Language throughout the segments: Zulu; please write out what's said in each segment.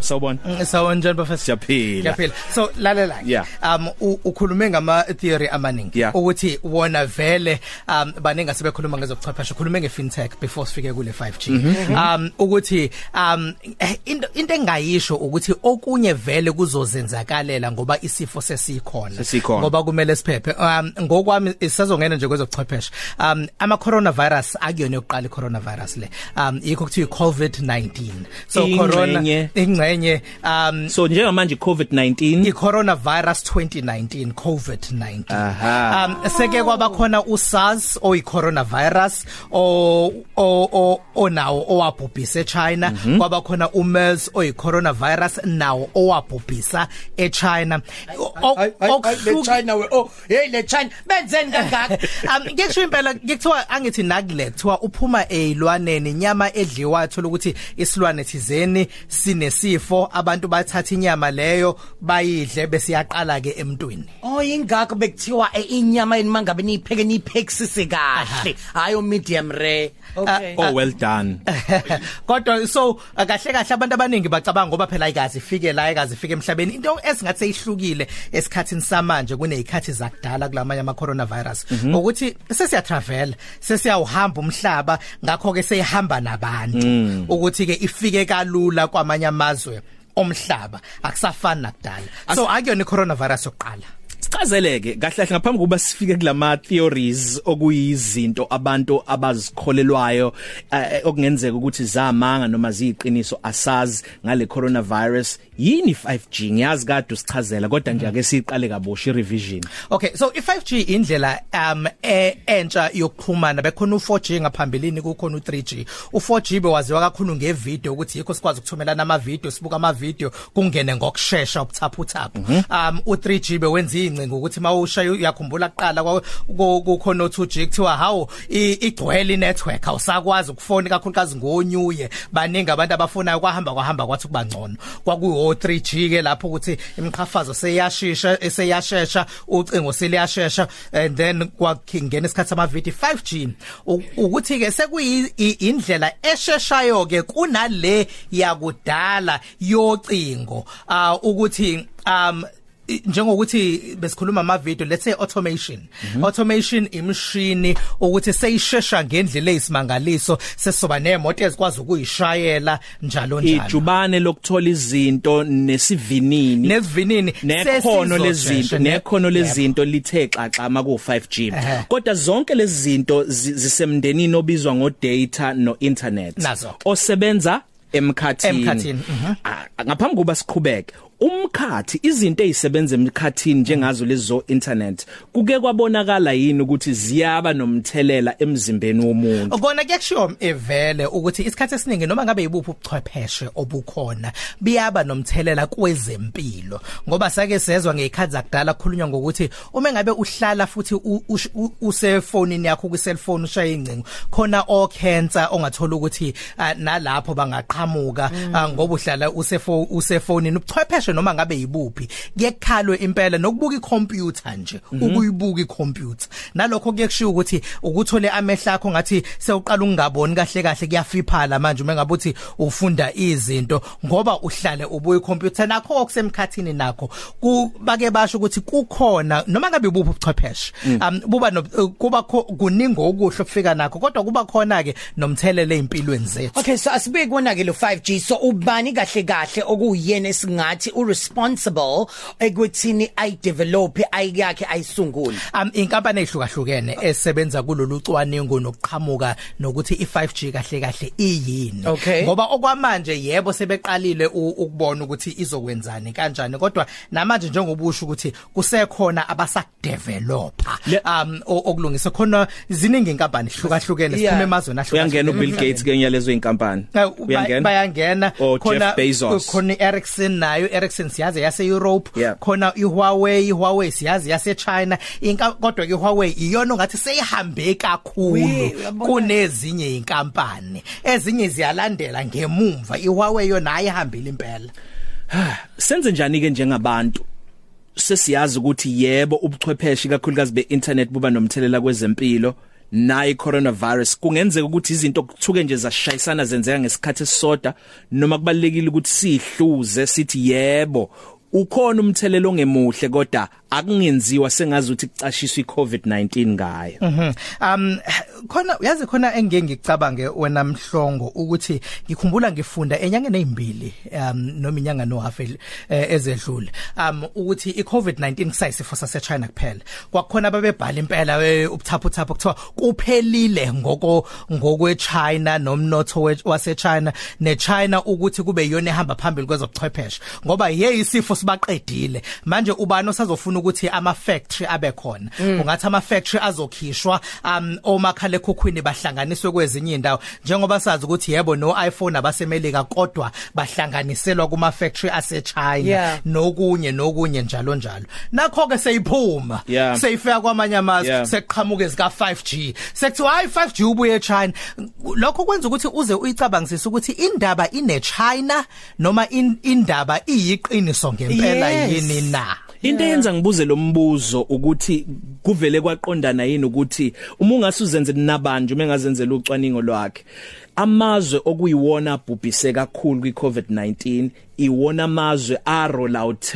sawubona sawubona njani professor siyaphila Ngiyaphila. So lalela Yeah. um u- ukhulume ngama theory amaningi Yeah. ukuthi wona vele um baningi asebekhuluma ngezokuchwepheshe ukhulume ngefintech before sifike kule 5G. Mm-hmm. Um ukuthi um eh, into into engayisho ukuthi okunye vele kuzozenzakalela ngoba isifo sesikhona. Sesikhona. Ngoba kumele siphephe. Um ngokwami sisazongena nje kwezokuchwepheshe. Um ama coronavirus akuyona yokuqala i coronavirus le. Um yikho kuthiwa COVID-19. So corona Ingxenye. ingcenye um so njengamanje covid-19 i-coronavirus 2019 covid-19 Aha. um seke kwabakhona usars oyi-coronavirus o- o- o- onawo owabhubhisa echina kwabakhona umers oyi-coronavirus nawo owabhubhisa echina O- o- Ay, ay, ay, le okuhluki- China we oh hey le China benzeni kangaka um ngisho impela ngikuthiwa angithi nakule kuthiwa uphuma eyilwaneni inyama edliwa thola ukuthi isilwane thizeni sinesifo abantu bathatha inyama leyo bayidle bese yaqala ke emntwini oh ingakho bekuthiwa eh, inyama yini mangabe niyipheke niyiphekisise kahle hayo medium rare okay oh well done kodwa so uh, kahle kahle abantu abaningi bacabanga ngoba phela ayikazi ifike la ayikazi ifike emhlabeni into esingathi seyihlukile esikhathini samanje kunezikhathi zakudala kulamanye ama coronavirus ukuthi sesiya travel sesiyawuhamba umhlaba ngakho ke seyihamba nabantu ukuthi ke ifike kalula kwamanye amazwe omhlaba akusafani nakudala so akuyona i-coronavirus yokuqala sichazeleke kahle kahle ngaphambi kokuba sifike kulama theories okuyizinto abantu abazikholelwayo eh, okungenzeka ukuthi zamanga noma ziyiqiniso asazi ngale coronavirus yini 5G ngiyazi kade usichazela kodwa nje ake siqale kabosha revision Okay so i5G indlela um eh, entsha yokuxhumana bekhona u4G ngaphambilini kukhona u3G u4G bewaziwa kakhulu ngevideo ukuthi yikho sikwazi ukuthumelana ama video sibuka ama video kungene ngokusheshsha ubuthaphu thaphu um u3G bewenza incingo ukuthi mawushaya uyakhumbula kuqala kwa- ku- kukhona u2G kuthiwa hawo igcwele inetwork awusakwazi ukufoni kakhulukazi ngonyuye baningi abantu abafunayo kwahamba kwahamba kwathi kubangcono kwakuyo 3G ke lapho ukuthi imqhafazo seyashisha eseyashesha ucingo seliyashesha and then kwakungena isikhathi sama video 5G u- ukuthi ke sekuyi i- indlela esheshayo ke kunale yakudala yocingo ah ukuthi um i- njengokuthi besikhuluma ama video let's say automation automation imshini ukuthi seyishesha ngendlela eyisimangaliso sesoba nemoto ezikwazi ukuyishayela njalo njalo ijubane lokuthola izinto nesivinini nesivinini nekhono sesizoshesha, lezinto ne- nekhono Yebo. lezinto lithe xaxama ku 5G Ehhe. kodwa zonke lezi zinto zi- zisemndenini obizwa ngo data no internet Nazo. osebenza emkhathini Emkhathini, mhm. Ah, ngaphambi kokuba siqhubeke umkhathi izinto ezisebenza emkhathini njengazo lezo internet kuke kwabonakala yini ukuthi ziyaba nomthelela emzimbeni womuntu Ukona kuyashiwo evele ukuthi isikhathi esiningi noma ngabe yibuphi ubuchwepheshe obukhona biyaba nomthelela kwezempilo ngoba sake sezwe ngezikhathi zakudala khulunywa ngokuthi uma ngabe uhlala futhi u- ush- u- usefonini yakho kwiselfone ushaye incingo khona okhensa ongathola ukuthi ah, nalapho bangaqhamuka Mm. ah, ngoba uhlala usefo usefonini ubuchwepheshe noma ngabe yibuphi kuyekhalwe impela nokubuka icomputer nje ukuyibuka icomputer nalokho kuyekushiya ukuthi ukuthole amehlo akho ngathi sewuqala ukungaboni kahle kahle kuyafiphala manje uma ngabe uthi ufunda izinto ngoba uhlale ubuye icomputer nakho okusemkhathini nakho kubake basho ukuthi kukhona noma ngabe ubuphi ubuchwepheshe um buba no- kuba kho- kuningi okuhle okufika nakho kodwa kuba khona ke nomthelelo ezimpilweni zethu Okay so asibe kubona ke lo 5G so ubani kahle kahle okuyiyena singathi u responsible ekuthini ay develop ayakhe ayisungule um inkampani ehlukahlukene esebenza kulolu cwaningo nokuqhamuka nokuthi i5G kahle kahle iyini Okay. ngoba okwamanje yebo sebeqalile u- ukubona ukuthi izokwenzani kanjani kodwa namanje njengobusho ukuthi kusekhona abasakudevelopa Le- um o- okulungisa khona ziningi inkampani ehlukahlukene Yeah. siphume emazweni uyangena ahlukahlukene. uBill Gates kenyalezo inkampani Eh, Oh, mhm. ba- bayangena O Oh, Jeff Bezos. khona Ericsson nayo Ericsson siyazi yase Europe Yeah. khona iHuawei Huawei siyazi yase China inka kodwa ke Huawei iyona ngathi seyihambe We, kakhulu uyabona. kunezinye inkampani ezinye ziyalandela ngemumva iHuawei yona ayihambile impela senze njani ke njengabantu sesiyazi ukuthi yebo ubuchwepheshe kakhulukazi beinternet buba nomthelela kwezempilo nayi coronavirus kungenzeka ukuthi izinto kuthuke nje zashayisana zenzeka ngesikhathi esisoda noma kubalekile ukuthi sihluze sithi yebo ukhona umthelelo ongemuhle kodwa akungenziwa sengazi ukuthi kucashiswa iCovid-19 ngayo Mhm. Um khona uyazi khona engeke ngicabange wena mhlongo ukuthi ngikhumbula ngifunda enyangeni ezimbili um noma inyanga nohafel ezedlule um ukuthi iCovid-19 kusayisifo sase China kuphela. Kwakukhona babebhala impela eh, ubuthaphu thaphu kuthiwa kuphelile ngoko ngokwe China nomnotho we- wase China ne China ukuthi kube yiyona ehamba phambili kwezobuchwepheshe ngoba yeyi isifo sibaqedile. Manje ubani osazofuna ukuthi ama factory abe khona. Ungathi ama factory azokhishwa um omakhale kokwini bahlanganiswe kwezinye indawo njengoba sazi ukuthi yebo no iPhone abasemelika kodwa bahlanganiselwa kuma factory ase China Yeah. nokunye nokunye njalo njalo. Nakho ke seyiphuma Yeah. seyifika kwamanye amazwe Yeah. seqhamuke zika 5G. Sekuthiwa ay 5G ubuye eChina. Lokho kwenza ukuthi uze uyicabangisise ukuthi indaba ine China noma in- indaba iyiqiniso ngempela Yes. yini na. Into eyenza ngibuze lo mbuzo ukuthi kuvele kwaqondana yini ukuthi uma ungasuzenze nabanje uma engazenzela ucwaningo lwakhe amazwe okuyiwona abhubhise kakhulu kwiCovid-19 iwona amazwe a roll out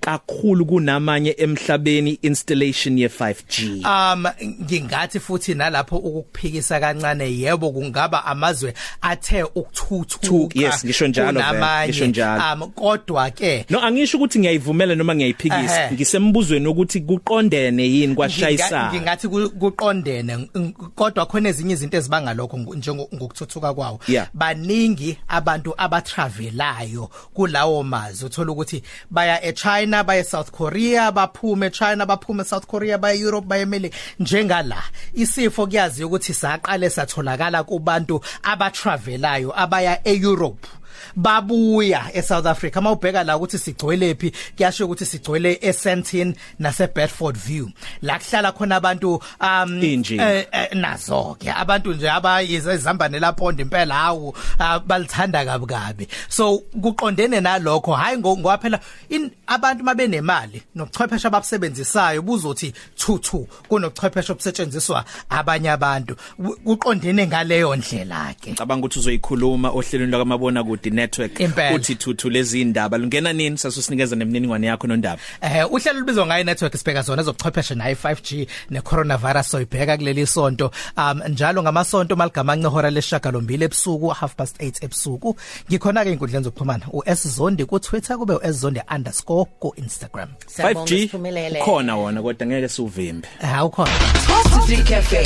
kakhulu kunamanye emhlabeni installation ye 5G um ngingathi futhi nalapho ukukuphikisa kancane yebo kungaba amazwe athe Thu- ukuthuthuka yes, ngisho njalo vele, kunamanye. ngisho njalo. um kodwa ke No angisho ukuthi ngiyayivumela noma ngiyayiphikisa Ehhe. ngisembuzweni ukuthi kuqondene yini Nginga- kwashayisana ngingathi ku- kuqondene ng- kodwa khona ezinye izinto ezibanga lokho ngu- njengo ngokuthuthuka kwawo Yeah. baningi abantu abatravelayo kulawo mazwe uthola ukuthi baya eChina baya eSouth Korea baphume eChina baphume eSouth Korea baya eEurope baya eMelika njengala isifo kuyazi ukuthi saqale satholakala kubantu abatravelayo abaya eEurope babuya eSouth Africa mawubheka la ukuthi sigcwele phi kuyasho ukuthi sigcwele eSandton naseBedford View la kuhlala khona abantu um Injini. eh, eh, nazo ke abantu nje abayizambane laphondo impela hawu ah, balithanda kabi kabi so kuqondene nalokho hayi ngo- ngoba phela in- abantu mabenemali nobuchwepheshe ababusebenzisayo buzothi thuthu kunobuchwepheshe obusetshenziswa abanye abantu Ku- kuqondene ngaleyo ndlela ke cabanga ukuthi uzoyikhuluma ohlelweni lwakamabona kude network Impela. uthi thuthu lezi indaba lungena nini sasusinikeza nemininingwane yakho nondaba Eh uhlelo libizwa ngayo network sibheka zona ezobuchwepheshe nayo 5G necoronavirus soyibheka kuleli sonto um njalo ngamasonto maligamanxe hora leshagalombili ebusuku half past 8 ebusuku ngikhona ke inkundleni zokuxhumana uSzondi ku Twitter kube uSzondi_underscore ku Instagram 5G Siyabonga, khona wona kodwa ngeke sivimbe Eh, awukhona Coffee Cafe.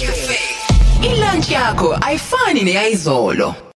Ilunch yakho ayifani neyizolo.